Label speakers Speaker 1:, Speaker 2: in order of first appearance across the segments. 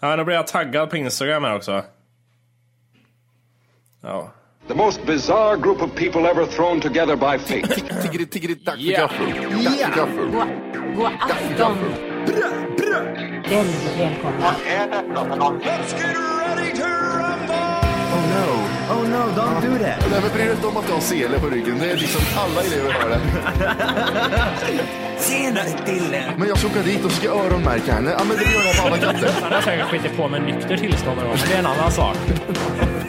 Speaker 1: Ja, nu blir jag taggad på Instagram här också. Ja.
Speaker 2: The most bizarre group of people ever thrown together by fate.
Speaker 3: Tiggeri, tiggeri, dack för
Speaker 1: Yeah.
Speaker 3: gaffel. Dack för gaffel.
Speaker 4: God afton! Väldigt välkomna.
Speaker 3: Oh no.
Speaker 5: Oh no, don't do that.
Speaker 3: Nej men bryr dig inte om att du har sele på ryggen. Det är liksom alla elever har det.
Speaker 5: Senare Dille.
Speaker 3: Men jag ska åka dit och ska öronmärka henne. Ja men det gör jag på alla katter.
Speaker 6: Han har säkert skitit på med nykter tillstånd någon gång, men det är en annan sak.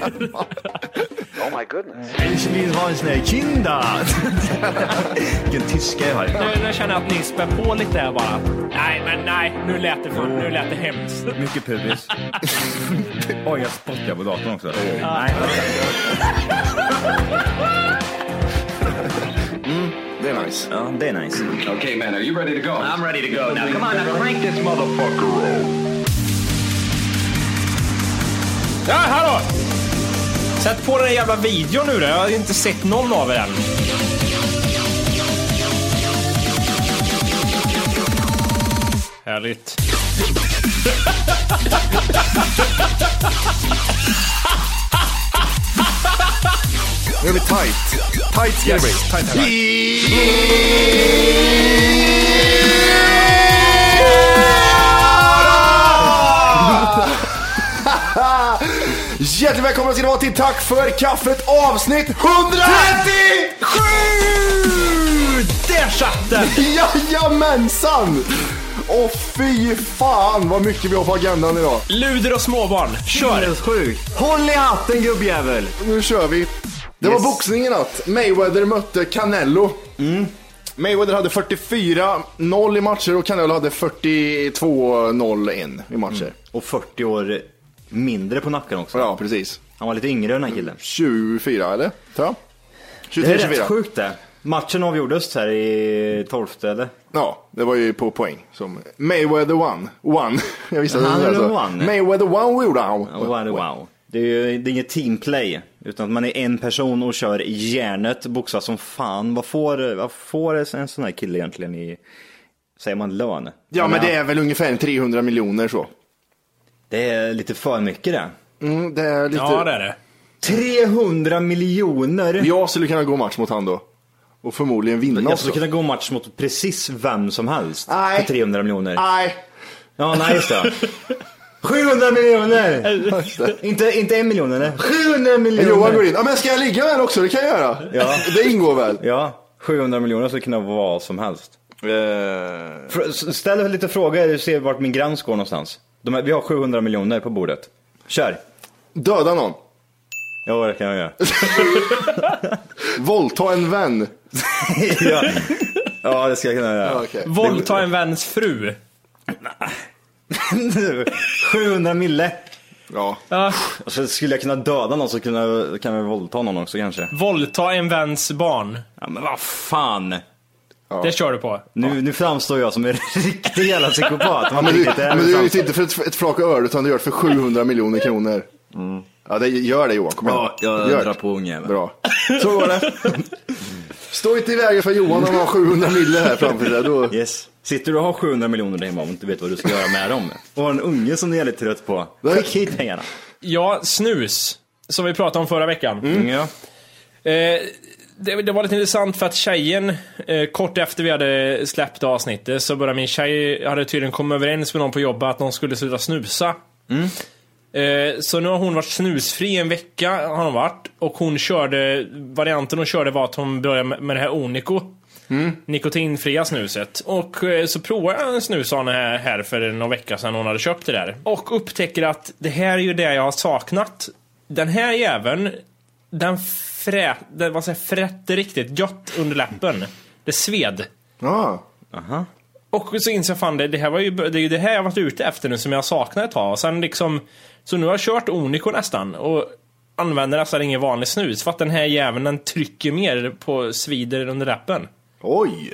Speaker 5: Ich will ha sina kinder. Vilken tyska jag har.
Speaker 6: Nu, nu känner jag att ni spär på lite här bara. Nej, men nej, nu lät det, för, nu lät det hemskt.
Speaker 7: Mycket pubis. Oj, jag spottar på datorn också.
Speaker 2: Mm,
Speaker 3: Det är nice.
Speaker 7: Ja, det är nice.
Speaker 2: okay, man, are you ready to go? I'm ready to go now. Come on, now crank this
Speaker 1: Ja, hallå! Sätt på den där jävla videon nu då. Jag har inte sett någon av er än. Härligt.
Speaker 3: Nu är vi tight. Tight ska det bli.
Speaker 1: Tight, tight, tight.
Speaker 3: Hjärtligt välkomna ska ni vara till Tack för kaffet avsnitt 137!
Speaker 1: Där satt den!
Speaker 3: Jajamensan! Och fy fan vad mycket vi har på agendan idag.
Speaker 1: Luder och småbarn. Kör!
Speaker 5: Sjukt. Håll i hatten gubbjävel.
Speaker 3: Nu kör vi. Det var boxning i natt. Mayweather mötte Canelo. Mm. Mayweather hade 44-0 i matcher och Canelo hade 42-0-1 i matcher.
Speaker 7: Och 40 år mindre på nacken också.
Speaker 3: Ja, precis.
Speaker 7: Han var lite yngre den här killen.
Speaker 3: 24 eller? Tror jag.
Speaker 7: Det är rätt
Speaker 3: 23-24.
Speaker 7: sjukt det. Matchen avgjordes här i 12 eller?
Speaker 3: Ja, det var ju på poäng. Som Mayweather won. Won. Jag visste att det
Speaker 7: Han
Speaker 3: skulle säga så.
Speaker 7: won.
Speaker 3: Mayweather won, we won.
Speaker 7: Ja, Wow, wow. Det är ju det är inget teamplay. Utan att man är en person och kör järnet, boxas som fan. Vad får, vad får en sån här kille egentligen i, säger man lön?
Speaker 3: Ja, men det är väl ungefär 300 miljoner så.
Speaker 7: Det är lite för mycket det.
Speaker 3: Mm, det är lite...
Speaker 1: Ja, det är det.
Speaker 7: 300 miljoner!
Speaker 3: Jag skulle kunna gå match mot han då. Och förmodligen vinna
Speaker 7: Jag skulle
Speaker 3: också.
Speaker 7: kunna gå match mot precis vem som helst
Speaker 3: Nej. Ah,
Speaker 7: för 300 miljoner.
Speaker 3: Nej.
Speaker 7: Ja, nej just det. 700 miljoner! inte, inte en miljon eller? 700
Speaker 3: Johan går
Speaker 7: miljoner!
Speaker 3: in. Ja, men ska jag ligga med också? Det kan jag göra.
Speaker 7: Ja.
Speaker 3: Det ingår väl?
Speaker 7: Ja, 700 miljoner skulle kunna vara vad som helst. Fr- s- Ställ lite frågor och se vart min gräns går någonstans. De här, vi har 700 miljoner på bordet. Kör!
Speaker 3: Döda någon.
Speaker 7: Ja, det kan jag göra.
Speaker 3: Våldta en vän.
Speaker 7: ja. ja, det ska jag kunna göra.
Speaker 1: Våldta en väns fru.
Speaker 7: 700 mille!
Speaker 3: Ja.
Speaker 7: Och så skulle jag kunna döda någon så kunna, kan jag våldta någon också kanske.
Speaker 1: Våldta en väns barn.
Speaker 7: Ja, men vad fan!
Speaker 1: Det kör du på.
Speaker 7: Nu, nu framstår jag som en riktig jävla psykopat.
Speaker 3: Men du, men du gör det inte för ett, ett flak öre utan du gör det för 700 miljoner kronor. Ja, det, gör det Johan. Kom igen.
Speaker 7: Mm. Ja, jag
Speaker 3: Gör det.
Speaker 7: drar på ungen.
Speaker 3: Bra. Så var det. Stå inte i vägen för Johan om han har 700 mille här framför sig. Då...
Speaker 7: Yes. Sitter du och har 700 miljoner där hemma och inte vet vad du ska göra med dem? Och har en unge som du är jävligt trött på. Skicka hit pengarna.
Speaker 1: Ja, snus. Som vi pratade om förra veckan.
Speaker 7: Ja.
Speaker 1: Eh, det, det var lite intressant för att tjejen, eh, kort efter vi hade släppt avsnittet, så började min tjej, hade tydligen kommit överens med någon på jobbet att någon skulle sluta snusa. Eh, så nu har hon varit snusfri en vecka, har hon varit. Och hon körde, varianten hon körde var att hon började med- med det här Onico. Nikotinfria snuset. Och eh, så provade jag en snus av den här, här för någon vecka sedan hon hade köpt det där. Och upptäcker att det här är ju det jag har saknat. Den här jäveln, den frä, den, vad säger, jag, frätte riktigt gött under läppen. Det sved.
Speaker 3: Ja.
Speaker 1: Och så inser jag fan det, det här var ju det, är ju det här jag varit ute efter nu som jag saknar ett tag. Och sen liksom, så nu har jag kört Onico nästan och använder nästan ingen vanlig snus för att den här jäveln den trycker mer på svider under läppen.
Speaker 3: Oj!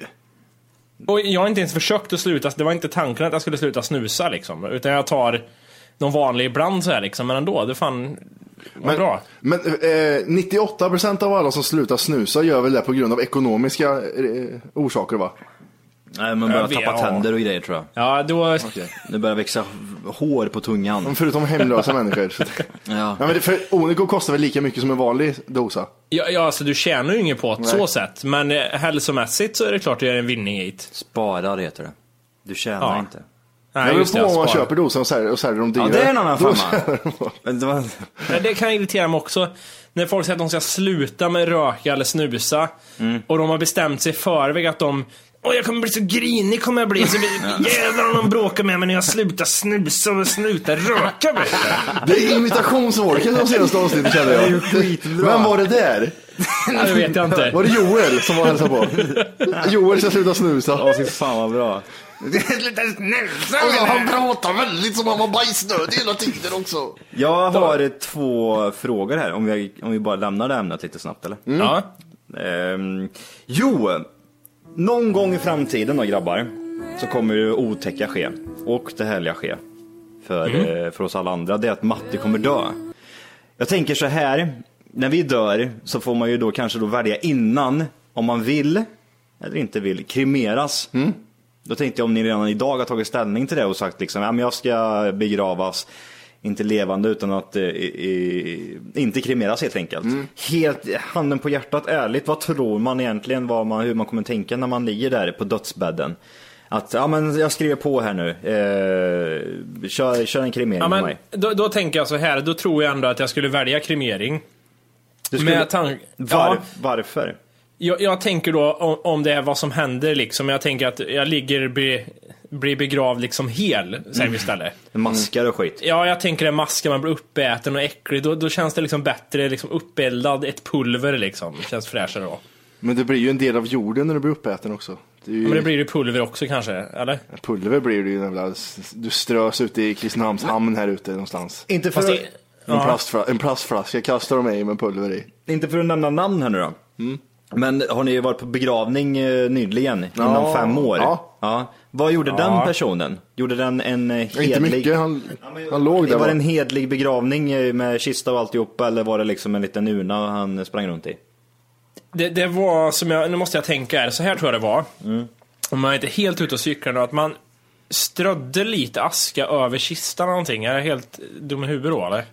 Speaker 1: Och jag har inte ens försökt att sluta, det var inte tanken att jag skulle sluta snusa liksom. Utan jag tar någon vanlig ibland så här liksom, men ändå, det fan vad
Speaker 3: Men,
Speaker 1: bra.
Speaker 3: men eh, 98% av alla som slutar snusa gör väl det på grund av ekonomiska eh, orsaker va?
Speaker 7: Nej,
Speaker 1: Jag
Speaker 7: man börjar
Speaker 1: vet,
Speaker 7: tappa
Speaker 1: ja.
Speaker 7: tänder och grejer tror jag.
Speaker 1: Ja, då...
Speaker 7: Det börjar växa hår på tungan.
Speaker 3: Förutom hemlösa människor. Så det-
Speaker 7: Ja.
Speaker 3: Ja, men det, för Onico kostar väl lika mycket som en vanlig dosa?
Speaker 1: Ja, ja, alltså du tjänar ju inget på det så sätt. Men eh, hälsomässigt så är det klart du gör en vinning i det.
Speaker 7: Sparar heter det. Du tjänar
Speaker 1: Ja.
Speaker 7: inte.
Speaker 1: Nej,
Speaker 3: det beror på om man
Speaker 1: spara.
Speaker 3: köper dosan och säljer, och säljer dem
Speaker 7: Ja,
Speaker 3: dyrare.
Speaker 7: det är en annan
Speaker 3: Då
Speaker 7: femma. Men det var...
Speaker 1: Ja, det kan irritera mig också. När folk säger att de ska sluta med röka eller snusa.
Speaker 3: Mm.
Speaker 1: Och de har bestämt sig i förväg att de Åh, jag kommer bli så grinig kommer jag bli. Så blir- Jävlar om de bråkar med mig när jag slutar snusa och slutar röka. vet du."
Speaker 3: Det är imitationsvolken de senaste avsnitten känner jag. Vem var det där?
Speaker 1: Ja, Det vet jag
Speaker 3: Var
Speaker 1: inte.
Speaker 3: det Joel som var och hälsade på? Joel ska sluta snusa.
Speaker 7: Ja, fy fan vad bra.
Speaker 3: han pratar väldigt som han var bajsnödig hela tiden också.
Speaker 7: Jag har två frågor här, om vi, om vi bara lämnar det ämnet lite snabbt eller?
Speaker 1: Ja.
Speaker 7: Ehm, jo, någon gång i framtiden då grabbar, så kommer det otäcka ske. Och det härliga ske. För, eh, för oss alla andra, det är att Matti kommer dö. Jag tänker så här, när vi dör så får man ju då kanske då välja innan, om man vill eller inte vill, kremeras.
Speaker 1: Mm.
Speaker 7: Då tänkte jag om ni redan idag har tagit ställning till det och sagt liksom, ja men jag ska begravas, inte levande utan att, eh, i, i, inte kremeras helt enkelt.
Speaker 1: Mm.
Speaker 7: Helt, handen på hjärtat, ärligt, vad tror man egentligen, vad man, hur man kommer tänka när man ligger där på dödsbädden? Att, ja men jag skriver på här nu, eh, kör, kör en kremering
Speaker 1: Ja,
Speaker 7: med
Speaker 1: men,
Speaker 7: mig.
Speaker 1: då, då tänker jag så här, då tror jag ändå att jag skulle välja kremering.
Speaker 7: Du
Speaker 1: Med tank-
Speaker 7: Var,
Speaker 1: Ja.
Speaker 7: Varför?
Speaker 1: Jag, jag tänker då om, om det är vad som händer liksom. Jag tänker att jag ligger, blir, blir begravd liksom hel, säger vi istället.
Speaker 7: Maskar och
Speaker 3: Mm.
Speaker 7: skit.
Speaker 1: Ja, jag tänker det maskar, man blir uppäten och äcklig. Då, då känns det liksom bättre, liksom uppeldad, ett pulver liksom. Känns fräschare då.
Speaker 3: Men det blir ju en del av jorden när du blir uppäten också. Det är ju,
Speaker 1: Men det blir ju pulver också kanske, eller?
Speaker 3: Pulver blir det ju när du strös ute i Kristinehamns hamn här ute någonstans.
Speaker 7: Inte för,
Speaker 1: Fast det,
Speaker 3: En, plastfla- en plastflaska kastar de mig med pulver i. Mm.
Speaker 7: inte för att nämna namn här nu då. Men har ni varit på begravning eh, nyligen, inom
Speaker 3: Ja.
Speaker 7: fem år?
Speaker 3: Ja.
Speaker 7: Vad gjorde den personen? Gjorde den en eh, hedlig...
Speaker 3: Inte mycket, han, han låg där.
Speaker 7: Var
Speaker 3: va?
Speaker 7: det en hedlig begravning eh, med kista och alltihopa eller var det liksom en liten urna han sprang runt i?
Speaker 1: det, det var som jag, nu måste jag tänka här, så här tror jag det var.
Speaker 7: Mm.
Speaker 1: Om jag inte är helt ute och cyklar nu, att man strödde lite aska över kistan eller någonting. Är jag helt dum i huvudet då eller?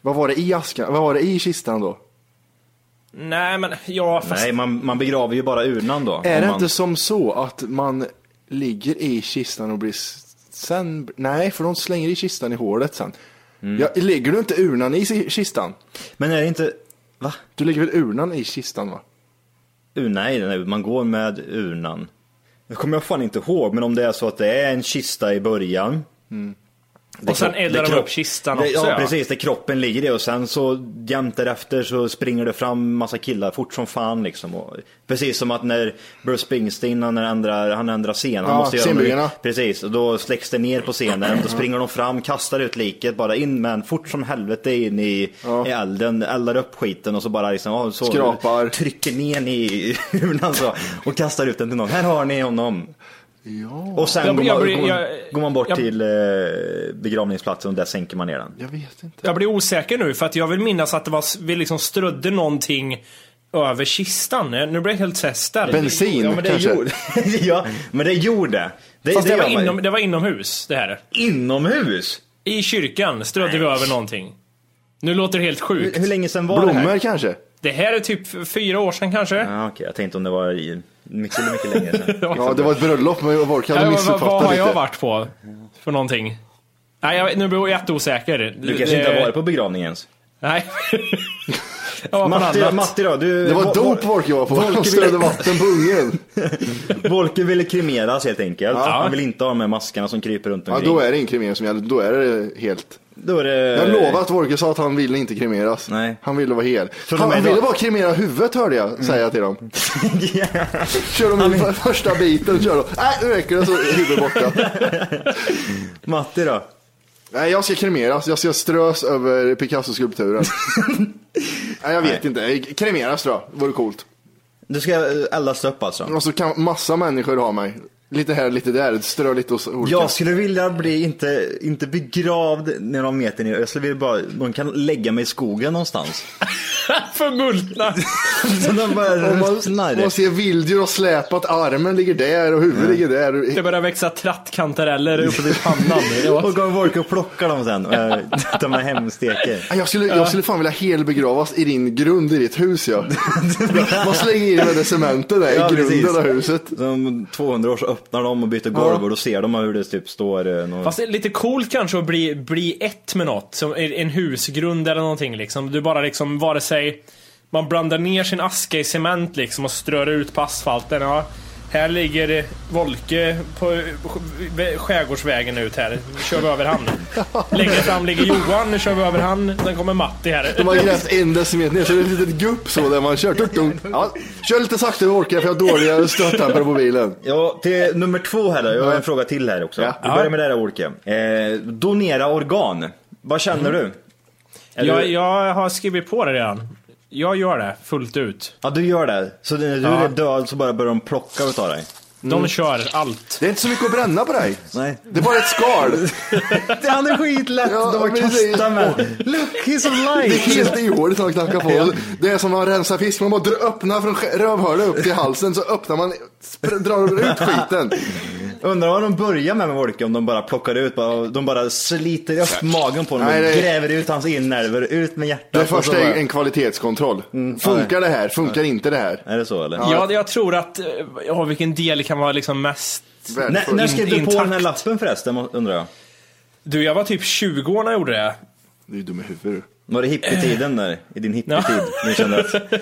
Speaker 3: Vad var det i askan? Vad var det i kistan då?
Speaker 1: Nej men, ja fast...
Speaker 7: Nej, man, man begraver ju bara urnan då.
Speaker 3: Är
Speaker 7: om
Speaker 3: det
Speaker 7: man...
Speaker 3: inte som så att man ligger i kistan och blir s- sen... Nej, för de slänger i kistan i hålet sen. Ja, ligger du inte urnan i si- kistan?
Speaker 7: Men är det inte... Va?
Speaker 3: Du lägger väl urnan i kistan va?
Speaker 7: Uh, nej, nej, man går med urnan. Det kommer jag fan inte ihåg, men om det är så att det är en kista i början. Det
Speaker 1: Mm. Och sen
Speaker 7: kropp-
Speaker 1: eldar
Speaker 7: det
Speaker 1: de
Speaker 7: kropp-
Speaker 1: upp kistan
Speaker 7: det,
Speaker 1: också,
Speaker 7: Ja,
Speaker 1: ja.
Speaker 7: precis. Det kroppen ligger i och sen så jämt därefter så springer det fram massa killar fort som fan liksom. Och, precis som att när Bruce Springsteen, han ändrar, han ändrar scen. Han
Speaker 3: Ja,
Speaker 7: göra
Speaker 3: scenbyggena.
Speaker 7: något- Precis, och då släcks det ner på scenen. Då springer de fram, kastar ut liket bara in men fort som helvete in i, i elden. Eldar upp skiten och så bara liksom, ja, så
Speaker 3: Skrapar.
Speaker 7: trycker ner ni i urnan så och kastar ut den till någon. Här har ni honom. Och sen
Speaker 1: Jag-
Speaker 7: går,
Speaker 1: jag
Speaker 7: man,
Speaker 1: blir-
Speaker 7: går, man,
Speaker 1: jag-
Speaker 7: går man bort
Speaker 1: jag-
Speaker 7: till eh, begravningsplatsen och där sänker man ner den.
Speaker 3: Jag vet inte.
Speaker 1: Jag blir osäker nu för att jag vill minnas att det var, vi liksom strödde någonting över kistan. Nu blir jag helt så här ställd.
Speaker 3: Bensin
Speaker 7: ja, men det
Speaker 3: kanske?
Speaker 7: Gjorde, ja, men det gjorde. Det,
Speaker 1: Fast det,
Speaker 7: gör
Speaker 1: var
Speaker 7: man ju.
Speaker 1: inom, det var inomhus det här.
Speaker 7: inomhus.
Speaker 1: I kyrkan strödde vi över någonting. Nu låter det helt
Speaker 7: Hur,
Speaker 1: sjukt.
Speaker 7: hur länge sedan var det
Speaker 3: Blommor
Speaker 7: här?
Speaker 3: kanske?
Speaker 1: Det här är typ fyra år sedan kanske.
Speaker 7: Ja, okej, jag tänkte om det var i- mycket, mycket längre sedan.
Speaker 3: Ja, det var ett bröllop, men Volkan
Speaker 1: Ja,
Speaker 3: hade
Speaker 1: vad, vad, vad
Speaker 3: missuppfattat
Speaker 1: har jag
Speaker 3: lite.
Speaker 1: varit på? För någonting? Nej, jag, nu blir jag jätteosäker.
Speaker 7: Du kanske inte
Speaker 1: Det-
Speaker 7: har varit på begravningen ens.
Speaker 1: Nej. jag var på något
Speaker 7: Matti,
Speaker 1: annat.
Speaker 7: Matti då, du...
Speaker 3: Det var
Speaker 7: Vol-
Speaker 3: dop Volke var på. Han strödde vatten på ungen.
Speaker 7: Volker ville kremeras helt enkelt.
Speaker 3: Ja.
Speaker 7: Han vill inte ha de här maskarna som kryper runt
Speaker 3: Ja,
Speaker 7: omkring.
Speaker 3: då är det inkrimering som gäller. Då är det helt.
Speaker 7: Då är det...
Speaker 3: Jag lovar att Volke sa att han ville inte kremeras.
Speaker 7: Eh. Nej.
Speaker 3: Han ville vara hel.
Speaker 7: de
Speaker 3: Han,
Speaker 7: är
Speaker 3: han
Speaker 7: idag-
Speaker 3: ville bara kremera huvudet hörde jag säga till dem.
Speaker 7: Ja.
Speaker 3: Kör de i för- första biten, kör de. Nej, nu räcker det så är huvudet borta.
Speaker 7: Matti då?
Speaker 3: Nej, jag ska kremeras. Jag ska strös över Picasso-skulpturen. Nej, jag vet inte. Kremeras tror jag. Vore coolt.
Speaker 7: Du ska eh, eldas upp alltså?
Speaker 3: Och så kan massa människor ha mig. Lite här, lite där. Strö lite hos olika.
Speaker 7: Jag skulle vilja bli, inte, inte begravd när de meter ner. Jag skulle vilja bara, de kan lägga mig i skogen någonstans.
Speaker 1: Förmultna.
Speaker 7: Så de bara
Speaker 3: Om man,
Speaker 7: ruttnar.
Speaker 3: man ser vilddjur och släpat, armen ligger där och huvudet ligger där.
Speaker 1: Det börjar växa trattkantareller uppe i pannan. Det var-
Speaker 7: Och kommer Volker och plockar dem sen. eh, De här hemsteker.
Speaker 3: Nej, Jag skulle, jag skulle fan vilja helbegravas i din grund i ditt hus ja. Man slänger in med det cementet där
Speaker 7: Ja,
Speaker 3: i grunden
Speaker 7: precis.
Speaker 3: av huset.
Speaker 7: Så Om 200 år så öppnar de och byter golv och då ser de hur det typ står eh,
Speaker 3: Mm.
Speaker 7: någon...
Speaker 1: Fast det är lite coolt kanske att bli, bli ett med något. Som en en husgrund eller någonting liksom. Du bara liksom, vare sig man blandar ner sin aska i cement liksom och strör ut på asfalten. Ja, här ligger Volke på skärgårdsvägen ut här. Nu kör vi över han. Längre fram ligger Johan, nu kör vi över han. Sen kommer Matti
Speaker 3: De
Speaker 1: här.
Speaker 3: har grävt en decimeter ner så det är ett litet gupp så där man kör. Tuk, tuk. Ja, kör lite saktare och orkar för jag har dåliga stötdämpare på bilen.
Speaker 7: Ja, till nummer två här då. Jag har en fråga till här också.
Speaker 3: Ja.
Speaker 7: Vi börjar med det här Orke. Eh, donera organ. Vad
Speaker 3: Mm.
Speaker 7: känner du? Är
Speaker 1: Jag,
Speaker 7: du?
Speaker 1: jag har skrivit på det redan. Jag gör det fullt ut.
Speaker 7: Ja, du gör det. Så när du
Speaker 1: Ja.
Speaker 7: är död så bara börjar de plocka utav dig.
Speaker 1: De
Speaker 3: Mm.
Speaker 1: kör allt.
Speaker 3: Det är inte så mycket att bränna på dig.
Speaker 7: Nej.
Speaker 3: Det är bara ett skal.
Speaker 7: Han är skitlätt!
Speaker 3: Ja,
Speaker 7: de bara
Speaker 3: precis.
Speaker 7: kastar med. Oh, Look, he's
Speaker 3: Det är
Speaker 7: alive!
Speaker 3: helt ihåligt när de knackar på. Det är som när man rensar fisk. Man bara dr- öppnar från sk- rövhålet upp till halsen så öppnar man, spr- drar ut skiten.
Speaker 7: Undrar vad de börjar med med Orke, om de bara plockar ut, bara, de bara sliter upp magen på honom
Speaker 3: Nej,
Speaker 7: och
Speaker 3: det-
Speaker 7: gräver ut hans inälvor, ut med hjärtat.
Speaker 3: Det
Speaker 7: och så
Speaker 3: första är
Speaker 7: bara-
Speaker 3: en kvalitetskontroll. Funkar det här? Funkar inte det här?
Speaker 7: Är det så eller?
Speaker 1: Ja, jag tror att, eh, ja vilken del kan vara liksom mest
Speaker 7: När, när skrev du på
Speaker 1: Intakt.
Speaker 7: den här lappen förresten, undrar jag?
Speaker 1: Du, jag var typ 20 år när jag gjorde det.
Speaker 3: Du är dum i huvudet.
Speaker 7: Var det hippietiden där? I din hippietid? När du kände att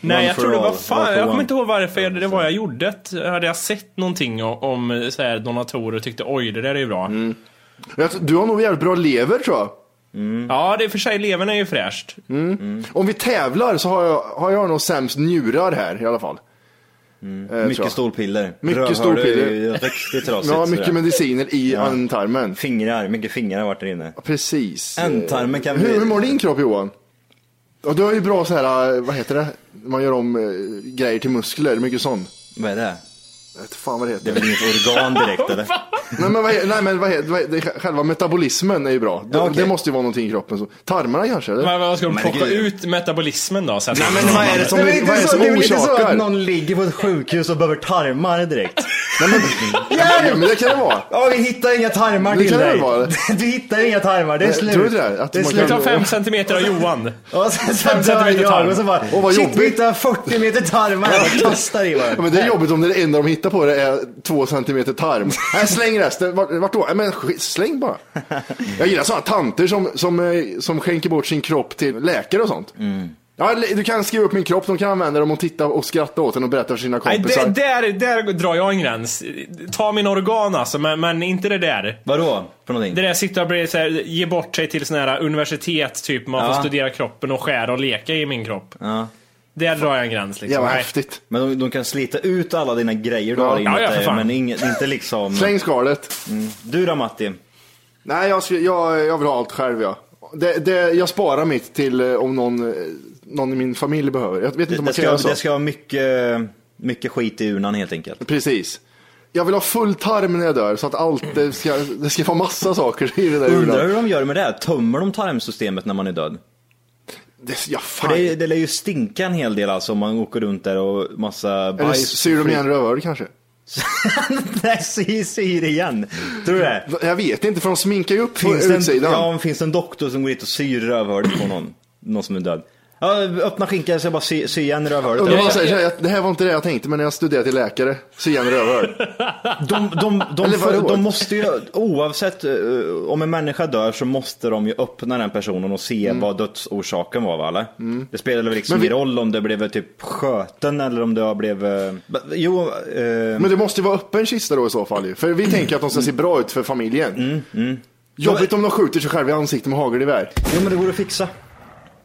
Speaker 1: Nej, jag
Speaker 7: for
Speaker 1: tror det var
Speaker 7: all, one
Speaker 1: fan,
Speaker 7: for
Speaker 1: jag
Speaker 7: one.
Speaker 1: kommer inte ihåg varför jag, det var jag gjorde det. Hade jag sett någonting o- om så här, donatorer och tyckte oj, det där är ju bra.
Speaker 7: Mm.
Speaker 3: Jag tror- Du har nog jävligt bra lever tror jag.
Speaker 1: Ja, det är för sig, levern är ju fräscht.
Speaker 7: Mm.
Speaker 3: Om vi tävlar så har jag, har jag nog sämst njurar här i alla fall. Eh, tror jag.
Speaker 7: mycket stolpiller.
Speaker 3: Mycket
Speaker 7: Rövhål är
Speaker 3: stolpiller.
Speaker 7: ju Riktigt trasigt.
Speaker 3: Ja,
Speaker 7: sådär.
Speaker 3: mycket mediciner i
Speaker 7: Ja.
Speaker 3: ändtarmen.
Speaker 7: Fingrar, mycket fingrar har varit där inne.
Speaker 3: Precis.
Speaker 7: Ändtarmen kan
Speaker 3: hur,
Speaker 7: bli-
Speaker 3: hur mår din kropp Johan? Ja, du har ju bra så här, eh, vad heter det? Man gör om eh, grejer till muskler, mycket sånt.
Speaker 7: Vad är det?
Speaker 3: Jag vet fan vad det
Speaker 7: Det är
Speaker 3: heter.
Speaker 7: väl inget organ direkt eller?
Speaker 3: nej men, vad, he- nej, men vad, he- vad, he- det, själva metabolismen är ju bra. Det,
Speaker 7: Ja, okej.
Speaker 3: det måste ju vara någonting i kroppen. Så. Tarmarna kanske? Eller?
Speaker 1: Men vad ska de
Speaker 7: Men
Speaker 1: plocka
Speaker 7: gud.
Speaker 1: ut metabolismen då? Så att,
Speaker 3: vad är det som,
Speaker 7: Det är väl
Speaker 3: vad är det
Speaker 7: inte så,
Speaker 3: som
Speaker 7: det är väl inte så att
Speaker 3: orsakar?
Speaker 7: någon ligger på ett sjukhus och behöver tarmar direkt?
Speaker 3: Nej, men, ja, men det kan det vara.
Speaker 7: Ja, vi hittar inga tarmar
Speaker 3: Det
Speaker 7: till
Speaker 3: kan det
Speaker 7: dig.
Speaker 3: vara.
Speaker 7: Du hittar inga tarmar, det är
Speaker 3: Nej,
Speaker 7: slut.
Speaker 3: tror du det? Att
Speaker 7: det är
Speaker 3: man
Speaker 7: slut.
Speaker 1: Ta
Speaker 3: kan-
Speaker 1: fem centimeter av Johan.
Speaker 7: Och sen, sen dör
Speaker 1: centimeter
Speaker 7: jag
Speaker 1: tarm.
Speaker 7: och så bara,
Speaker 3: Åh, vad
Speaker 7: shit vi
Speaker 3: jobbigt.
Speaker 7: hittar 40 meter tarmar och kastar i
Speaker 3: Ja,
Speaker 7: varandra.
Speaker 3: men det är jobbigt om det enda de hittar på det är två centimeter tarm. Nej, släng resten. Vart, vart då? Nej, men sk- släng bara. Jag gillar sådana tanter som, som, eh, som skänker bort sin kropp till läkare och sånt. Ja, eller du kan skriva upp min kropp, de kan använda dem och titta och skratta åt den och berätta för sina
Speaker 1: Nej,
Speaker 3: kompisar.
Speaker 1: det, där, där drar jag en gräns. Ta min organ alltså, men, men inte det där.
Speaker 7: Vadå? För någonting?
Speaker 1: Det där sitta och bli, så här, ge bort sig till såna här universitet, typ man
Speaker 7: Ja.
Speaker 1: får studera kroppen och skära och leka i min kropp.
Speaker 7: Ja.
Speaker 1: Där drar jag en gräns liksom.
Speaker 3: Jävla
Speaker 1: Nej.
Speaker 3: häftigt.
Speaker 7: Men de, de kan slita ut alla dina grejer du
Speaker 1: ja,
Speaker 7: har inuti
Speaker 1: för
Speaker 7: dig,
Speaker 1: fan.
Speaker 7: men inget, inte liksom...
Speaker 3: Släng skalet.
Speaker 7: Du då Matti?
Speaker 3: Nej, jag, ska- jag, jag vill ha allt själv jag. Det, det, jag sparar mitt till eh, om någon, eh, någon i min familj behöver. Jag vet inte
Speaker 7: Det,
Speaker 3: om man kan
Speaker 7: det, ska,
Speaker 3: göra så.
Speaker 7: det ska vara mycket, mycket skit i urnan helt enkelt.
Speaker 3: Precis. Jag vill ha full tarm när jag dör så att allt, det ska, det ska vara massa saker i det där
Speaker 7: Undrar
Speaker 3: urnan.
Speaker 7: hur de gör med det? här? Tömmer de tarmsystemet när man är död?
Speaker 3: Det, ja,
Speaker 7: För
Speaker 3: fan.
Speaker 7: det, det lär ju stinka en hel del alltså om man åker runt där och massa
Speaker 3: Eller
Speaker 7: bajs.
Speaker 3: syr de igen rövhål kanske?
Speaker 7: Nej, syr, syr igen. Tror du det?
Speaker 3: Jag vet inte för de sminkar ju upp på
Speaker 7: Finns det, en,
Speaker 3: utsidan.
Speaker 7: ja, men finns det en doktor som går dit och syr rövhålet på någon? Någon som är död? Ja, öppna skinkan så jag bara sy, sy igen rövhålet.
Speaker 3: Undrar vad han säger så här, "Jag- det här var inte det jag tänkte, men när jag studerade till läkare, så igen rövhål.
Speaker 7: De, de, de,
Speaker 3: Eller vadå?
Speaker 7: de, de måste ju, oavsett eh, om en människa dör så måste de ju öppna den personen och se vad dödsorsaken var va? Eller? Det spelar väl liksom
Speaker 3: Mm. Men vi-
Speaker 7: ingen roll om det blev typ sköten eller om det blev... eh, ba- Jo, eh,
Speaker 3: Men det måste ju vara öppen kista då i så fall ju. För vi tänker att de ska se bra ut för familjen.
Speaker 7: Mm.
Speaker 3: Jobbigt om de skjuter sig själva i ansiktet med hagelgevär.
Speaker 7: jo, men det går att fixa.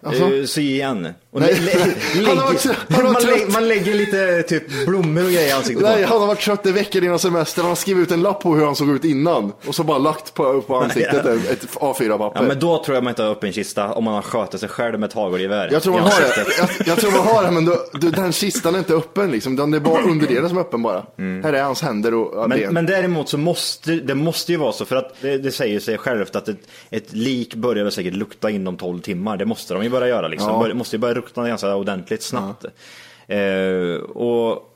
Speaker 3: Alltså.
Speaker 7: Eh, sy igen. Och
Speaker 3: Nej.
Speaker 7: lä- lä-
Speaker 3: Han har
Speaker 7: lägger-
Speaker 3: också- han har
Speaker 7: man,
Speaker 3: trött.
Speaker 7: lä- man lägger lite typ blommor och grejer i ansiktet
Speaker 3: Nej,
Speaker 7: på
Speaker 3: han har varit trött i veckor innan semestern. Han har skrivit ut en lapp på hur han såg ut innan och så bara lagt på, på ansiktet ett ett A4-papper.
Speaker 7: Ja, men då tror jag man inte har öppen kista om man har skötit sig själv med ett hagelgevär.
Speaker 3: Jag tror man
Speaker 7: i
Speaker 3: har det.
Speaker 7: ansiktet.
Speaker 3: Jag, jag tror man har det, men då, då, den kistan är inte öppen liksom. Den är bara underdelen som är öppen bara. Här är hans händer och ja, ben.
Speaker 7: Men, men däremot så måste det måste ju vara så för att det, det säger sig självt att ett, ett lik börjar väl säkert lukta inom 12 timmar. Det måste de ju börja göra liksom.
Speaker 3: Ja.
Speaker 7: Bör, måste ju börja lukta ganska ordentligt snabbt. Eh, och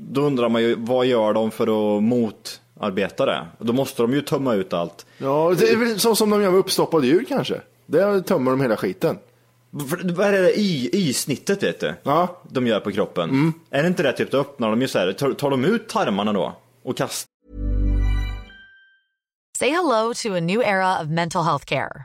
Speaker 7: då undrar man ju vad gör de för att motarbeta det? Då måste de ju tömma ut allt.
Speaker 3: Ja, det är väl så som de gör med uppstoppade djur kanske. Där tömmer de hela skiten.
Speaker 7: För, vad är det där y, y-snittet vet du?
Speaker 3: Ja. Mm.
Speaker 7: De gör på kroppen. Är det inte det typ då öppnar de ju så här, tar, tar de ut tarmarna då? Och kastar
Speaker 4: Say hello to a new era of mental health care.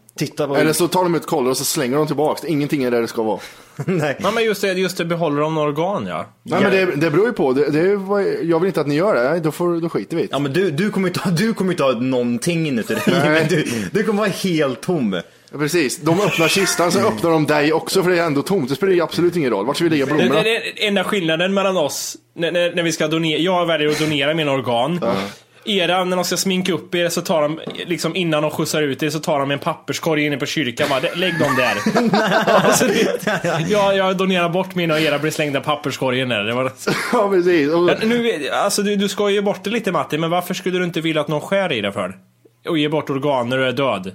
Speaker 7: Titta på...
Speaker 3: Eller så tar de ut kollar och så slänger de tillbaks. Ingenting är där det ska vara.
Speaker 7: Nej.
Speaker 1: Ja, men just det, just det behåller de några organ ja.
Speaker 3: Nej, men det, det beror ju på. Det, det är, vad- jag vill inte att ni gör det. Nej, då, får, då skiter vi i det.
Speaker 7: Ja men du, du kommer inte ha, du kommer inte ha någonting inuti dig.
Speaker 3: Nej.
Speaker 7: Men Du, du kommer vara helt tom.
Speaker 3: Ja, precis. De öppnar kistan, sen öppnar de dig också för det är ändå tomt. Det spelar ju absolut ingen roll. Vart ska vi lägga
Speaker 1: Det,
Speaker 3: blommorna?
Speaker 1: det, det enda skillnaden mellan oss, när, när, när vi ska donera, jag väljer att donera mina organ. Era, när de ska sminka upp er, så tar de, liksom innan de skjutsar ut er, så tar de en papperskorg inne på kyrkan bara, "Där- lägg dem där. alltså, det, jag, jag donerar bort mina och era blir slängda i papperskorgen där. Det var,
Speaker 3: Ja, precis. Och,
Speaker 1: Men nu, alltså, du, du ska ju bort det lite Matti, men varför skulle du inte vilja att någon skär i det för? Och ger bort organ när du är död?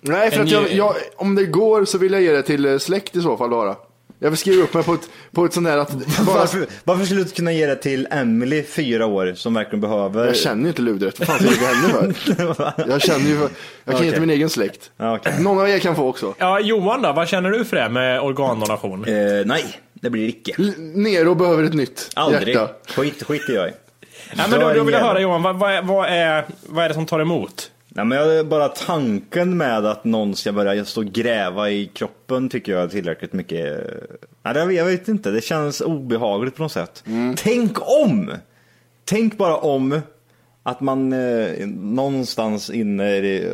Speaker 3: nej, för
Speaker 1: en
Speaker 3: att jag,
Speaker 1: ju-
Speaker 3: jag, om det går så vill jag ge det till eh, släkt i så fall bara. Jag vill skriva upp mig på ett, på ett sånt där att... Bara,
Speaker 7: Varför, varför skulle du inte kunna ge det till Emily fyra år som verkligen behöver?
Speaker 3: jag känner ju inte Ludret. Vad fan ska jag ge henne för? Jag känner ju... för- Jag kan ge till min egen släkt.
Speaker 7: Ja, okej.
Speaker 3: Någon av er kan få också.
Speaker 1: Ja, Johan då, vad känner du för det här med organdonation?
Speaker 7: Eh, nej, det blir icke.
Speaker 3: L- Nero behöver ett nytt
Speaker 7: Aldrig.
Speaker 3: hjärta.
Speaker 7: Skit, skit i jag i.
Speaker 1: Nej, men då, då vill jag
Speaker 7: Dör
Speaker 1: höra
Speaker 7: igen.
Speaker 1: Johan, vad, vad, är- vad, är, vad är det som tar emot?
Speaker 7: Nej men jag, bara tanken med att någon ska börja stå och gräva i kroppen tycker jag är tillräckligt mycket. Nej, det- jag vet inte, det känns obehagligt på något sätt. Tänk om! Tänk bara om att man eh, någonstans inne i det,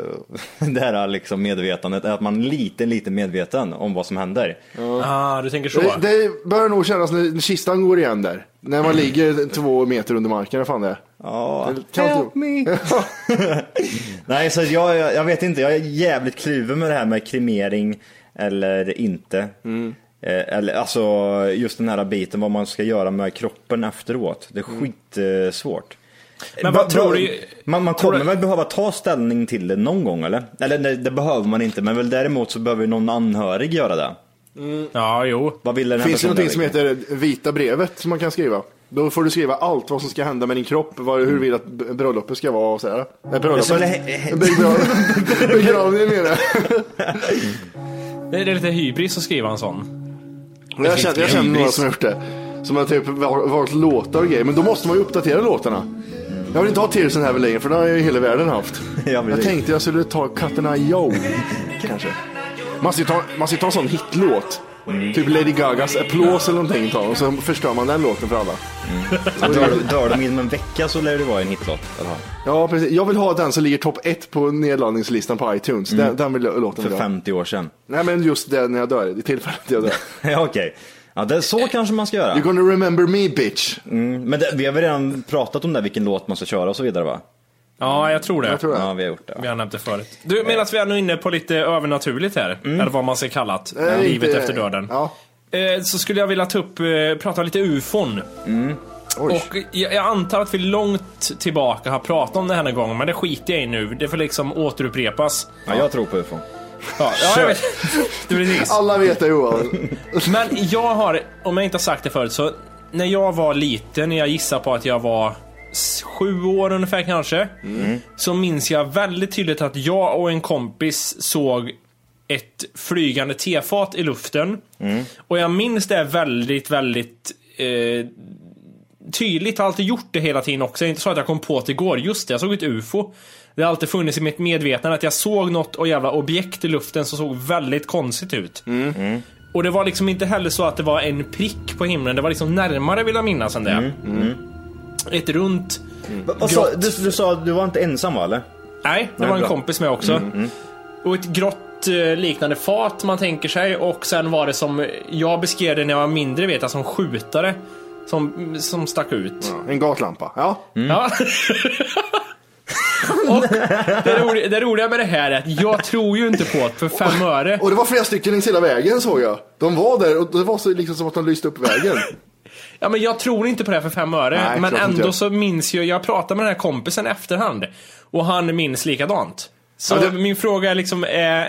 Speaker 7: det här liksom medvetandet är att man är lite, lite medveten om vad som händer.
Speaker 1: Ah, du tänker så?
Speaker 3: Det, det börjar nog kännas när kistan går igen där. När man ligger två meter under marken, vad fan det är.
Speaker 7: Ja.
Speaker 3: Det kan inte-
Speaker 7: me! Nej, så jag, jag, jag vet inte. Jag är jävligt kluven med det här med kremering eller inte.
Speaker 1: Mm.
Speaker 7: Eh, eller, alltså just den här biten vad man ska göra med kroppen efteråt. Det är skitsvårt.
Speaker 1: Mm. Men vad
Speaker 7: Va-
Speaker 1: tror
Speaker 7: va-
Speaker 1: du-
Speaker 7: Man, man
Speaker 1: tror
Speaker 7: kommer
Speaker 1: du-
Speaker 7: väl behöva ta ställning till det någon gång eller? Eller det, det behöver man inte, men väl däremot så behöver någon anhörig göra det.
Speaker 1: Ja, jo.
Speaker 7: Vad vill den här
Speaker 3: Finns det
Speaker 7: personen
Speaker 3: någonting som
Speaker 7: verkligen?
Speaker 3: heter vita brevet som man kan skriva? Då får du skriva allt vad som ska hända med din kropp, vad, hur du vill att b- bröllopet ska vara och sådär. Äh, bröllopet?
Speaker 7: Så det-
Speaker 3: Begra- Begravningen menar jag.
Speaker 1: Det är lite hybris att skriva en sån.
Speaker 3: Jag känner, jag känner några som har gjort det. Som har typ val- valt låtar och grejer, men då måste man ju uppdatera låtarna. Jag vill inte ha Tears in Heaven längre, för den har ju hela världen haft.
Speaker 7: Ja,
Speaker 3: jag,
Speaker 7: precis.
Speaker 3: tänkte jag skulle ta Cotton Eye Joe, kanske. Man ska ju ta, man ska ju ta en sån hitlåt. Typ Lady Gagas Applause eller någonting tar och så förstör man den låten för alla.
Speaker 7: Dör, dör de inom en vecka så lär det vara en hitlåt. Eller?
Speaker 3: Ja, precis. Jag vill ha den som ligger topp ett på nedladdningslistan på iTunes. Den,
Speaker 7: Mm.
Speaker 3: den vill låten
Speaker 7: För
Speaker 3: vill jag ha.
Speaker 7: 50 år sedan.
Speaker 3: Nej, men just det när jag dör, i tillfället jag dör.
Speaker 7: ja, okej. Ja, det, så kanske man ska göra.
Speaker 3: You're gonna remember me bitch.
Speaker 7: Mm, men det, vi har väl redan pratat om det, vilken låt man ska köra och så vidare va?
Speaker 1: Ja, jag tror det. Jag tror
Speaker 7: Ja, vi har gjort det.
Speaker 1: Vi har nämnt det förut. Du, medan vi är nu inne på lite övernaturligt här, eller vad man ska kalla det,
Speaker 3: Nej,
Speaker 1: livet
Speaker 3: inte-
Speaker 1: efter döden.
Speaker 3: Ja.
Speaker 1: Eh, Så skulle jag vilja ta upp, eh, prata lite ufon. Och jag jag antar att vi långt tillbaka har pratat om det här en gång, men det skiter jag i nu. Det får liksom återupprepas.
Speaker 7: Ja, jag tror på ufon.
Speaker 1: Ja, ja jag vet. Det blir precis.
Speaker 3: Alla vet det Johan.
Speaker 1: Men jag har, om jag inte har sagt det förut, så när jag var liten, jag gissar på att jag var s- sju år ungefär kanske, så minns jag väldigt tydligt att jag och en kompis såg ett flygande tefat i luften. Och jag minns det väldigt, väldigt eh, tydligt. Jag har alltid gjort det hela tiden också. Det är inte så att jag kom på det igår. Just det, jag såg ett UFO. Det har alltid funnits i mitt medvetande att jag såg något och jävla objekt i luften som såg väldigt konstigt ut. Och det var liksom inte heller så att det var en prick på himlen. Det var liksom närmare vill jag minnas än det. Ett runt...
Speaker 3: Mm.
Speaker 7: Va- vad sa- du, du sa att du var inte ensam va, eller?
Speaker 1: Nej, det
Speaker 7: Nej,
Speaker 1: var en
Speaker 7: bra.
Speaker 1: kompis med också. Och ett grått eh, liknande fat man tänker sig och sen var det som jag beskrev det när jag var mindre vet jag som skjutare. Som, som stack ut.
Speaker 3: En gatlampa, ja.
Speaker 1: Ja. och det, roliga, det roliga med det här är att jag tror ju inte på det för fem öre.
Speaker 3: Och det var flera stycken längs hela vägen såg jag. De var där och det var så liksom som att de lyste upp vägen.
Speaker 1: Ja, men jag tror inte på det här för fem öre,
Speaker 3: Nej,
Speaker 1: men
Speaker 3: klart inte
Speaker 1: ändå
Speaker 3: jag.
Speaker 1: så minns jag, jag pratade med den här kompisen i efterhand och han minns likadant. Så
Speaker 3: Ja, det-
Speaker 1: min fråga är liksom, eh,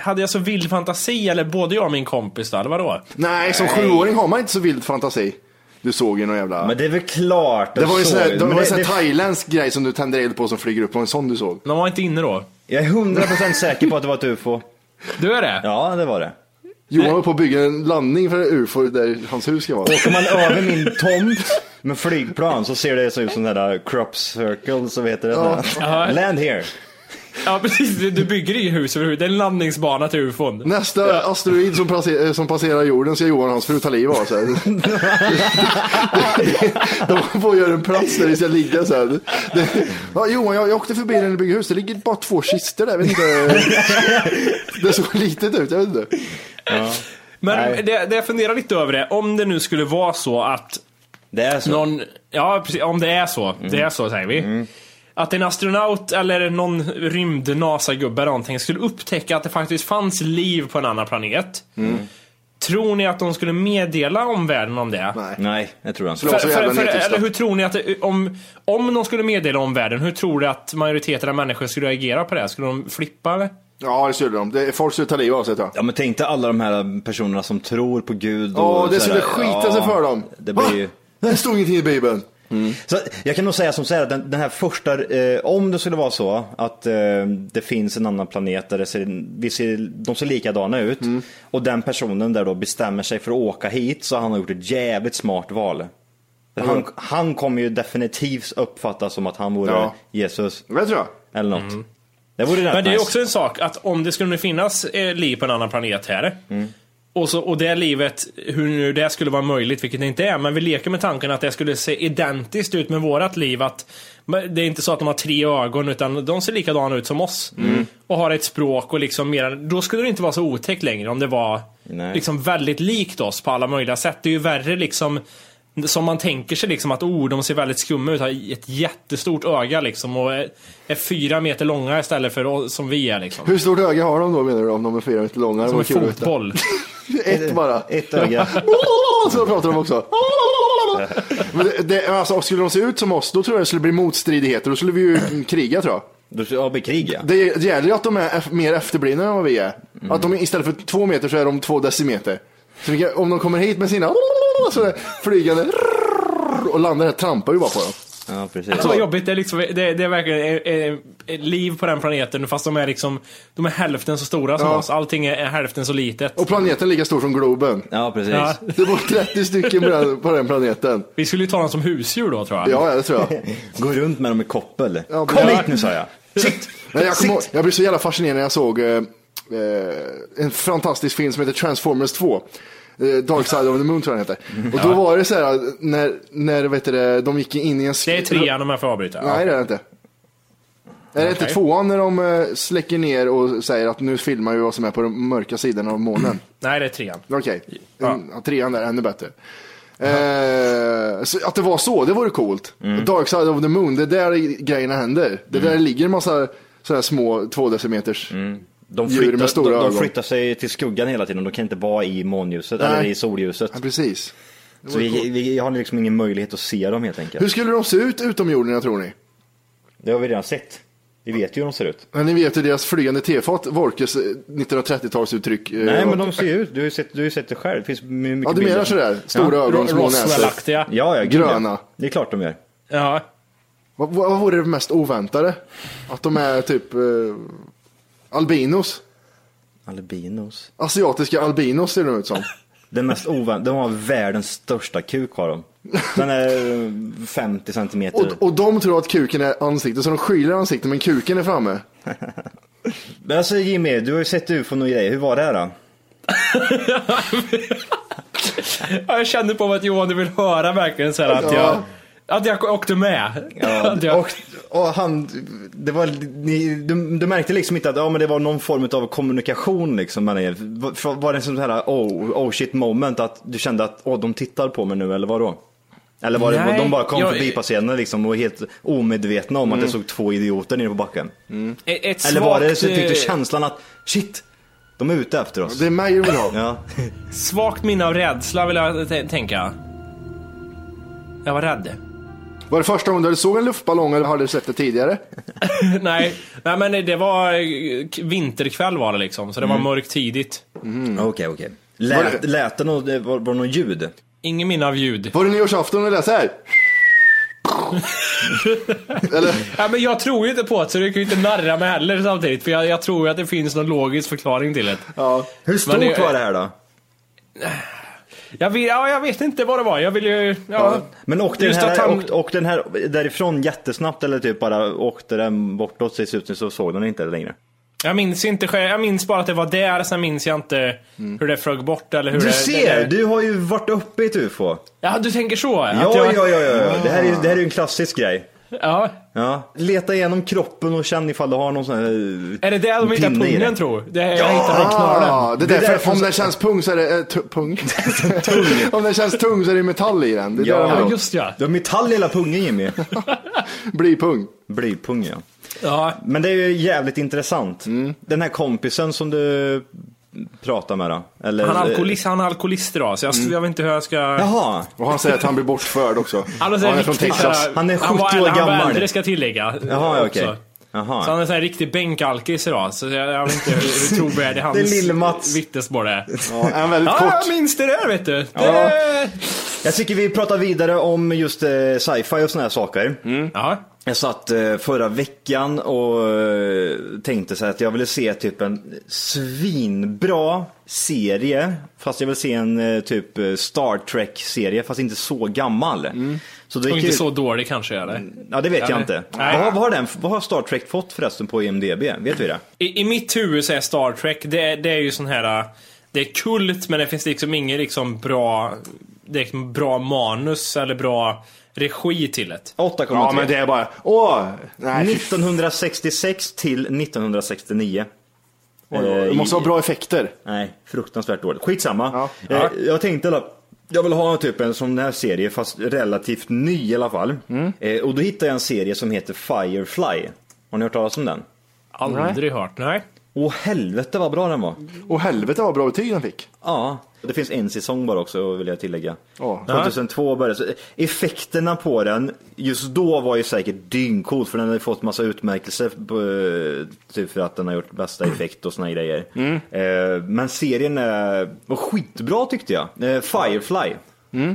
Speaker 1: hade jag så vild fantasi eller både jag och min kompis då, eller vadå?
Speaker 3: Nej, som sjuåring har man inte så vild fantasi. Du såg ju någon jävla...
Speaker 7: Men det är väl klart.
Speaker 3: det
Speaker 7: jag
Speaker 3: var ju en sån
Speaker 7: såg
Speaker 3: här,
Speaker 7: ju.
Speaker 3: det
Speaker 7: Men
Speaker 3: var en
Speaker 7: det-
Speaker 3: sån här
Speaker 7: det-
Speaker 3: thailändsk grej som du tände eld på som flyger upp. Det var en sån du såg.
Speaker 1: De var inte inne då?
Speaker 7: Jag är 100% säker på att det var ett ufo.
Speaker 1: Du är det?
Speaker 7: Ja, det var det.
Speaker 3: Johan var på att bygga en landning för UFO där hans hus ska vara.
Speaker 7: Åker man över min tomt med flygplan så ser det så ut som den där crop circle, så heter det.
Speaker 1: Jaha.
Speaker 7: Land here.
Speaker 1: Ja precis, du du bygger ju hus överhuvudtaget, det är en landningsbana till ufon.
Speaker 3: Nästa asteroid som, passer, eh, som passerar jorden ska Johan och hans fru ta livet av sig. De får göra en plats där det ska ligga sen. Det, ja, Johan, jag, jag åkte förbi när ni byggde hus. Det ligger bara två kistor där. Jag vet inte. Det såg litet ut, jag vet inte.
Speaker 7: Nej.
Speaker 1: Men det, det jag funderar lite över det, om det nu skulle vara så att
Speaker 7: Det är så.
Speaker 1: någon, ja precis, om det är så, det är så säger vi. Att en astronaut eller någon rymd NASA-gubbe eller någonting skulle upptäcka att det faktiskt fanns liv på en annan planet. Tror ni att de skulle meddela omvärlden om det?
Speaker 3: Nej.
Speaker 7: Nej, det tror jag inte.
Speaker 3: Förlåt.
Speaker 1: För,
Speaker 3: var så jävla
Speaker 1: för, för,
Speaker 3: nedtysta.
Speaker 1: eller hur tror ni att, det- om, om de skulle meddela omvärlden, hur tror du att majoriteten av människor skulle reagera på det? här? Skulle de flippa eller?
Speaker 3: Ja, det skulle de. Det, folk skulle ta livet av sig tror jag.
Speaker 7: Ja men tänk dig alla de här personerna som tror på Gud. och
Speaker 3: Ja, det
Speaker 7: sådär.
Speaker 3: skulle skita sig
Speaker 7: Ja,
Speaker 3: för dem.
Speaker 7: Det blir
Speaker 3: Va?
Speaker 7: ju...
Speaker 3: Det stod ingenting i Bibeln.
Speaker 7: Så jag kan nog säga som så här, att den, den här första, eh, om det skulle vara så att eh, det finns en annan planet där det ser, vi ser, de ser likadana ut
Speaker 3: Mm.
Speaker 7: och den personen där då bestämmer sig för att åka hit så han har gjort ett jävligt smart val. För Han, han kommer ju definitivt uppfattas som att han vore
Speaker 3: Ja.
Speaker 7: Jesus
Speaker 3: Det tror jag.
Speaker 7: eller något. Det vore rätt
Speaker 1: Mm. Men det är
Speaker 7: nice.
Speaker 1: också en sak att om det skulle finnas eh, liv på en annan planet här.
Speaker 7: Mm.
Speaker 1: Och, så, och det livet, hur nu det skulle vara möjligt, vilket det inte är, men vi leker med tanken att det skulle se identiskt ut med vårat liv. Att men det är inte så att de har tre ögon, utan de ser likadana ut som oss.
Speaker 7: Mm.
Speaker 1: Och har ett språk och liksom mer, då skulle det inte vara så otäckt längre om det var
Speaker 7: Nej.
Speaker 1: liksom väldigt likt oss på alla möjliga sätt. Det är ju värre liksom som man tänker sig liksom att oh, de ser väldigt skumma ut, har ett jättestort öga liksom och är, är fyra meter långa istället för oss- som vi är liksom.
Speaker 3: Hur stort öga har de då menar du? Om de är fyra meter långa? Det
Speaker 1: Som
Speaker 3: vore
Speaker 1: en
Speaker 3: kul att veta.
Speaker 1: fotboll.
Speaker 3: Ett bara.
Speaker 7: Ett öga.
Speaker 3: Så pratar de också. Men det, det, alltså, skulle de se ut som oss, då tror jag det skulle bli motstridigheter. Då skulle vi ju kriga tror jag.
Speaker 7: Du ska bekriga.
Speaker 3: Det, det gäller ju att de är eff- mer efterblivna än vad vi är. Att de istället för två meter så är de två decimeter. Så vi kan, om de kommer hit med sina så är det flygande och landar där, trampar ju bara på dem.
Speaker 7: Ja, precis.
Speaker 1: Så jobbigt, det är, liksom, det, är- det är verkligen eh, eh, liv på den planeten fast de är liksom, de är hälften så stora som
Speaker 3: Ja.
Speaker 1: oss. Allting är, är hälften så litet.
Speaker 3: Och planeten är lika stor som Globen.
Speaker 7: Ja, precis.
Speaker 1: Ja.
Speaker 3: Det bor 30 stycken på den, på den planeten.
Speaker 1: Vi skulle ju ta dem som husdjur då tror jag.
Speaker 3: Ja, ja, det tror jag.
Speaker 7: Gå runt med dem i koppel.
Speaker 3: Ja,
Speaker 7: Kom
Speaker 3: men-
Speaker 7: hit nu sa jag. Sitt!
Speaker 3: Nej, jag, kom, ihåg-
Speaker 7: Sitt!
Speaker 3: jag blev så jävla fascinerad när jag såg eh, eh, en fantastisk film som heter Transformers 2. Eh, Dark Side of the Moon tror jag den heter. Och då var det så här när, när vet du, det, de gick in i en... sk-
Speaker 1: Det är trean om jag får avbryta.
Speaker 3: Nej det är det inte. Är det inte
Speaker 1: Okej.
Speaker 3: tvåan när de eh, släcker ner och säger att nu filmar vi vad som är på den mörka sidan av månen?
Speaker 1: Nej, det är trean.
Speaker 3: Okej, En- ja. trean där, ännu bättre. Eh, så att det var så, det vore coolt.
Speaker 7: Mm.
Speaker 3: Dark Side of the Moon, det är där grejerna händer. Det är där ligger en massa sådana här små två decimeters
Speaker 7: De
Speaker 3: djur
Speaker 7: flyttar,
Speaker 3: med stora
Speaker 7: de, de
Speaker 3: ögon.
Speaker 7: flyttar sig till skuggan hela tiden. De kan inte vara i månljuset
Speaker 3: Nej.
Speaker 7: eller i solljuset.
Speaker 3: Ja, precis.
Speaker 7: Så vi, vi har liksom ingen möjlighet att se dem helt enkelt.
Speaker 3: Hur skulle de se ut utomjordingarna tror ni?
Speaker 7: Det har vi redan sett. Vi vet ju hur de ser ut.
Speaker 3: Men ni vet ju deras flygande tefat, Wolkes eh, 1930-talsuttryck. eh,
Speaker 7: Nej men
Speaker 3: och-
Speaker 7: de ser ju ut, du har ju sett, du har ju sett det själv. Det finns my- mycket
Speaker 3: Ja, du menar
Speaker 7: bilder.
Speaker 3: sådär? Stora
Speaker 7: Ja.
Speaker 3: ögon, små näsor.
Speaker 1: Roswell-aktiga.
Speaker 7: Ja, ja, gud,
Speaker 3: Gröna.
Speaker 7: Ja. Det är klart de gör.
Speaker 1: Ja.
Speaker 3: Vad, vad vad vore det mest oväntade? Att de är typ eh, albinos?
Speaker 7: Albinos.
Speaker 3: Asiatiska albinos ser de ut som.
Speaker 7: Den mest ovänt, de har världens största kuk har de. Den är eh, 50 centimeter.
Speaker 3: Och, och de tror att kuken är ansiktet, så de skyller ansiktet men kuken är framme.
Speaker 7: Men alltså Jimmy, du har ju sett ufon och grejer. Hur var det här då?
Speaker 1: Ja, jag kände på mig att Johan, du vill höra verkligen så här att jag... Att jag åkte med. Att jag,
Speaker 7: och, och han, det var, ni, du, du märkte liksom inte att ja, men det var någon form av kommunikation liksom mellan er. Var, var det en sån här oh, oh shit moment att du kände att åh de tittar på mig nu eller vadå? Eller var det,
Speaker 1: Nej,
Speaker 7: de bara kom
Speaker 1: jag- Mm.
Speaker 7: förbi passerande liksom och var helt omedvetna om att det såg två idioter nere på backen?
Speaker 1: ett ett
Speaker 7: Eller var det
Speaker 1: svagt,
Speaker 7: så fick du
Speaker 1: eh,
Speaker 7: känslan att shit, de är ute efter oss?
Speaker 3: Det är mig du vill ha.
Speaker 7: Ja.
Speaker 1: svagt minne av rädsla vill jag t- tänka. Jag var rädd.
Speaker 3: Var det första gången du såg en luftballong eller hade du sett det tidigare?
Speaker 1: Nej, nej men det var eh, k- vinterkväll var det liksom, så det
Speaker 7: Mm.
Speaker 1: var mörkt tidigt.
Speaker 7: Okej, okej.
Speaker 3: Mm. Var
Speaker 7: Lät,
Speaker 3: det-
Speaker 7: lät det något, var, var det något ljud?
Speaker 1: Ingen minne av ljud.
Speaker 3: Var det nyårsafton och lät så här? eller?
Speaker 1: Ja, men jag tror ju inte på det, så du kan ju inte narra mig heller samtidigt. För jag, jag tror ju att det finns någon logisk förklaring till det.
Speaker 3: Ja.
Speaker 7: Hur stort
Speaker 1: det-
Speaker 7: var det här då?
Speaker 1: Jag, vill, ja, jag vet inte vad det var, jag vill ju... Ja.
Speaker 7: Men åkte den,
Speaker 1: Just
Speaker 7: här,
Speaker 1: att han-
Speaker 7: åkte, åkte den här därifrån jättesnabbt eller typ bara åkte den bortåt sig ut så såg den inte längre?
Speaker 1: Jag minns inte själv, jag minns bara att det var där, sen minns jag inte hur det flög bort eller hur
Speaker 7: Mm. Du
Speaker 1: det...
Speaker 7: ser!
Speaker 1: det,
Speaker 7: Du har ju varit uppe i ett ufo.
Speaker 1: Ja, du tänker så? att
Speaker 7: Ja, ja,
Speaker 1: jag-
Speaker 7: ja, ja. ja. Det här är ju det här är ju en klassisk grej.
Speaker 1: ja.
Speaker 7: Ja. Leta igenom kroppen och känn ifall du har någon sån här...
Speaker 1: Är det där de hittar
Speaker 7: pinne i
Speaker 1: pungen
Speaker 7: den.
Speaker 1: tror? Det är, Jag hittar de knaren.
Speaker 3: Ah, det är
Speaker 7: Det är
Speaker 3: därför,
Speaker 7: därför
Speaker 3: om
Speaker 7: som-
Speaker 3: den känns pung så är det... eh, tu- pung? om den känns tung så är det metall i den. Det är
Speaker 7: Ja.
Speaker 3: där
Speaker 1: Ja,
Speaker 3: den
Speaker 1: just ja.
Speaker 7: Du har metall i hela pungen Jimmy.
Speaker 3: blir pung.
Speaker 7: Blypung ja.
Speaker 1: ja.
Speaker 7: Men det är ju jävligt intressant.
Speaker 1: Mm.
Speaker 7: Den här kompisen som du pratar med då? Eller,
Speaker 1: Han är alkoholist, han är alkoholist idag, så jag, jag vet inte hur jag ska...
Speaker 7: Mm. Jaha.
Speaker 3: Och han säger att han blir bortförd också.
Speaker 1: Han är, så
Speaker 3: han
Speaker 1: här
Speaker 3: är från
Speaker 1: riktigt
Speaker 3: Texas.
Speaker 1: såhär-
Speaker 7: Han är 70
Speaker 1: var-
Speaker 7: år
Speaker 1: Han var
Speaker 7: gammal.
Speaker 1: äldre ska jag tillägga. eh,
Speaker 7: Jaha, ja, okej.
Speaker 1: också.
Speaker 7: Jaha.
Speaker 1: Så han är en riktig bänkalkis idag, så jag, jag vet inte hur, hur trovärdig
Speaker 7: Det är
Speaker 1: hans
Speaker 7: lille Mats.
Speaker 1: vittnesmål är.
Speaker 3: Ja, en väldigt
Speaker 1: Ja,
Speaker 3: kort.
Speaker 1: jag minns det där vet du. Det...
Speaker 7: Ja. Jag tycker vi pratar vidare om just eh, sci-fi och såna här saker.
Speaker 3: Mm.
Speaker 1: Jaha.
Speaker 7: Jag satt eh, förra veckan och eh, tänkte så här att jag ville se typ en svinbra serie. Fast jag vill se en eh, typ eh, Star Trek-serie, fast inte så gammal.
Speaker 3: Mm.
Speaker 7: Så det Mm.
Speaker 1: Och
Speaker 7: gick
Speaker 1: inte
Speaker 7: ut-
Speaker 1: så dålig kanske eller?
Speaker 7: Ja, det vet jag
Speaker 1: Eller?
Speaker 7: inte. Vad,
Speaker 1: Nej.
Speaker 7: har- vad, har den, vad har Star Trek fått förresten på IMDB? Vet vi det?
Speaker 1: I, I mitt huvud så är Star Trek, det, är- det är ju sån här... äh, Det är kult men det finns liksom ingen liksom bra... Det är liksom bra manus eller bra regi till det.
Speaker 7: 8,3.
Speaker 3: Ja, men det är bara... Åh! Nej, fy
Speaker 7: 1966 till 1969.
Speaker 3: fan. Det måste ha bra effekter.
Speaker 7: Nej, fruktansvärt dåligt. Skitsamma.
Speaker 3: Ja.
Speaker 7: Eh, Jag tänkte alla, jag vill ha typ en sån här serie fast relativt ny i alla fall. Eh, Och då hittade jag en serie som heter Firefly. Har ni hört talas om den?
Speaker 1: Aldrig hört, nej.
Speaker 7: Åh helvete vad bra den var.
Speaker 3: Och helvete vad bra betyg den fick.
Speaker 7: Ja, det finns en säsong bara också vill jag tillägga.
Speaker 3: Ja.
Speaker 7: 2002 började så Effekterna på den just då var ju säkert dyngcool för den hade fått massa utmärkelser på, eh, typ för att den har gjort bästa effekt och såna grejer. Eh, Men serien eh, var skitbra tyckte jag. Eh, Firefly.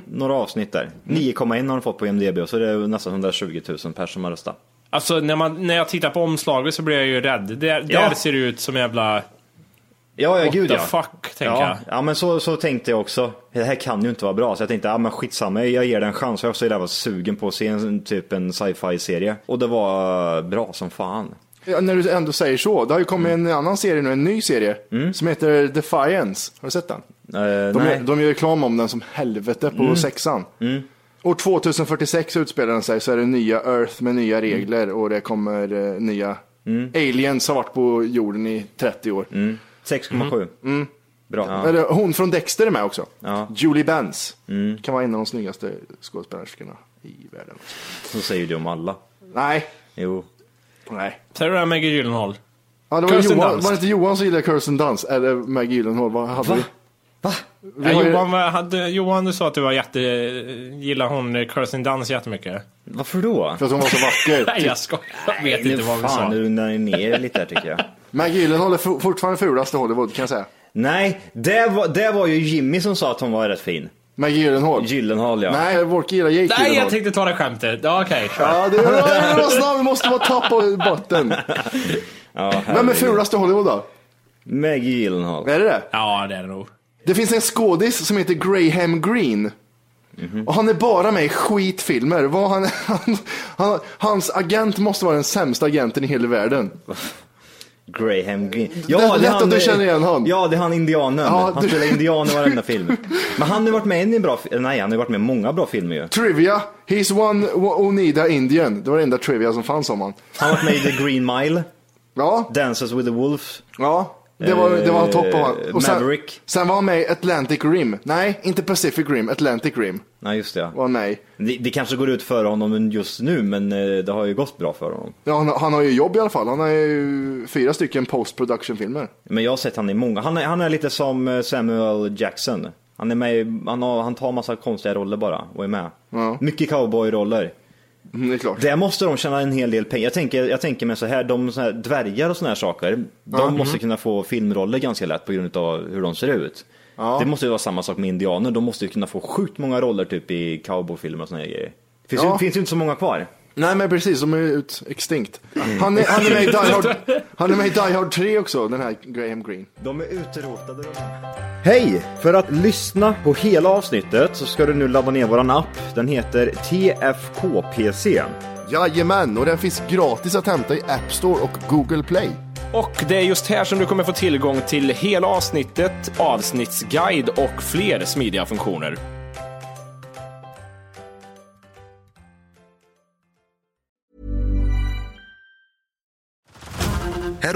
Speaker 7: Några avsnitt där. 9,1 har de fått på IMDB och så är det nästan 120 000 personer som har röstat.
Speaker 1: Alltså när, man, när jag tittar på omslaget så blir jag ju rädd. Där, där ser det ut som jävla...
Speaker 7: Ja, ja
Speaker 1: What
Speaker 7: gud
Speaker 1: the
Speaker 7: ja.
Speaker 1: fuck, tänker
Speaker 7: ja.
Speaker 1: jag.
Speaker 7: Ja, men så, så tänkte jag också. Det här kan ju inte vara bra. Så jag tänkte, ja men skitsamma, jag ger den en chans. Jag var så jävla sugen på att se en, typ en sci-fi serie. Och det var bra som fan. Eh,
Speaker 3: Ja, när du ändå säger så, det har ju kommit en annan serie nu, en ny serie, som heter Defiance. Har du sett den? de, gör,
Speaker 7: Mm. nej.
Speaker 3: de gör reklam om den som helvete på
Speaker 7: Mm.
Speaker 3: sexan. År 2046 utspelar den sig, så är det nya Earth med nya
Speaker 7: Mm.
Speaker 3: regler och det kommer eh, nya aliens har varit på jorden i 30 år.
Speaker 7: Mm. 6,7.
Speaker 3: Mm.
Speaker 7: Bra.
Speaker 3: Eller, hon från Dexter är med också.
Speaker 7: Ja. Mm.
Speaker 3: Julie Benz. Kan vara en av de snyggaste skådespelerskorna i världen.
Speaker 7: Så säger du om alla.
Speaker 3: Nej.
Speaker 7: Jo.
Speaker 3: Nej.
Speaker 1: Säger du det här med Maggie Gyllenhaal?
Speaker 3: Ja, det var,
Speaker 1: Kirsten
Speaker 3: Johan,
Speaker 1: Dunst.
Speaker 3: var det inte Johan som gillade Kirsten Dunst? Eller Maggie Gyllenhaal? Vad hade
Speaker 1: Va?
Speaker 3: vi?
Speaker 1: Ja,
Speaker 3: Vi har ju-
Speaker 1: Johan, vad hade, Johan, du sa att du var jätte... Gillar hon eh, Kirsten Dunst jättemycket?
Speaker 7: Varför då?
Speaker 3: För att hon var så vacker.
Speaker 1: Nej, jag skojar. Jag vet
Speaker 7: nu
Speaker 1: inte vad vi
Speaker 7: fan,
Speaker 1: sa.
Speaker 7: Nu undrar ni ner lite här tycker jag.
Speaker 3: Maggie Gyllenhaal är for- fortfarande fulast i Hollywood kan jag säga.
Speaker 7: Nej, det var, det var ju Jimmy som sa att hon var rätt fin.
Speaker 3: Maggie Gyllenhaal?
Speaker 7: Gyllenhaal ja.
Speaker 3: Nej, Wolke gillar Jake
Speaker 1: Nej, jag
Speaker 3: Gyllenhaal.
Speaker 1: tänkte ta det skämtet. Ja, okej. kör.
Speaker 3: Ja, det är det var snabbt, vi måste vara tapp på botten.
Speaker 7: Ja,
Speaker 3: Vem är
Speaker 7: herregud.
Speaker 3: fulast i Hollywood då?
Speaker 7: Maggie Gyllenhaal.
Speaker 3: Är det det?
Speaker 1: Ja, det är det nog.
Speaker 3: Det finns en skådis som heter Graham Greene. Och han är bara med i skitfilmer. Vad han, han, han, hans agent måste vara den sämsta agenten i hela världen.
Speaker 7: Graham Greene.
Speaker 3: Det är lätt att du känner igen han.
Speaker 7: Ja, det är han indianen.
Speaker 3: Ja,
Speaker 7: han
Speaker 3: du-
Speaker 7: spelar indian i varenda film. Men han har ju varit med i en bra fi- Nej, han har ju varit med i många bra filmer ju.
Speaker 3: Trivia. He's one Oneida Indian. Det var det enda trivia som fanns om han.
Speaker 7: Han har varit med i The Green Mile,
Speaker 3: Ja,
Speaker 7: Dances with the Wolves.
Speaker 3: ja. Det var, det var topp av han. Och sen,
Speaker 7: Maverick.
Speaker 3: sen var han med i Atlantic Rim. Nej, inte Pacific Rim. Atlantic Rim
Speaker 7: Nej, just det.
Speaker 3: var han med i.
Speaker 7: Det, det kanske går ut för honom just nu, men eh, det har ju gått bra för honom.
Speaker 3: Ja, han, han har ju jobb i alla fall. Han har ju fyra stycken post production filmer.
Speaker 7: Men jag har sett han i många. Han är, han är lite som eh, Samuel Jackson. Han är med i- han, har, han tar massa konstiga roller bara och är med.
Speaker 3: Ja.
Speaker 7: Mycket cowboyroller.
Speaker 3: Mm, det är klart.
Speaker 7: Där måste de tjäna en hel del pengar. Jag tänker, jag tänker mig så här, de så här, dvärgar och såna här saker, de
Speaker 3: Ja.
Speaker 7: måste kunna få filmroller ganska lätt på grund av hur de ser ut. Det måste ju vara samma sak med indianer, de måste ju kunna få sjukt många roller typ i cowboyfilmer och såna här grejer. Finns,
Speaker 3: Ja.
Speaker 7: ju, finns ju inte så många kvar.
Speaker 3: Nej, men precis. De är ju ut extinkt. Han är, han, är med i Die Hard, han är med i Die Hard 3 också, den här Graham Greene.
Speaker 7: De är utrotade. Hej! För att lyssna på hela avsnittet så ska du nu ladda ner våran app. Den heter TFKPC.
Speaker 3: Jajamän, och den finns gratis att hämta i App Store och Google Play.
Speaker 6: Och det är just här som du kommer få tillgång till hela avsnittet, avsnittsguide och fler smidiga funktioner.
Speaker 8: Head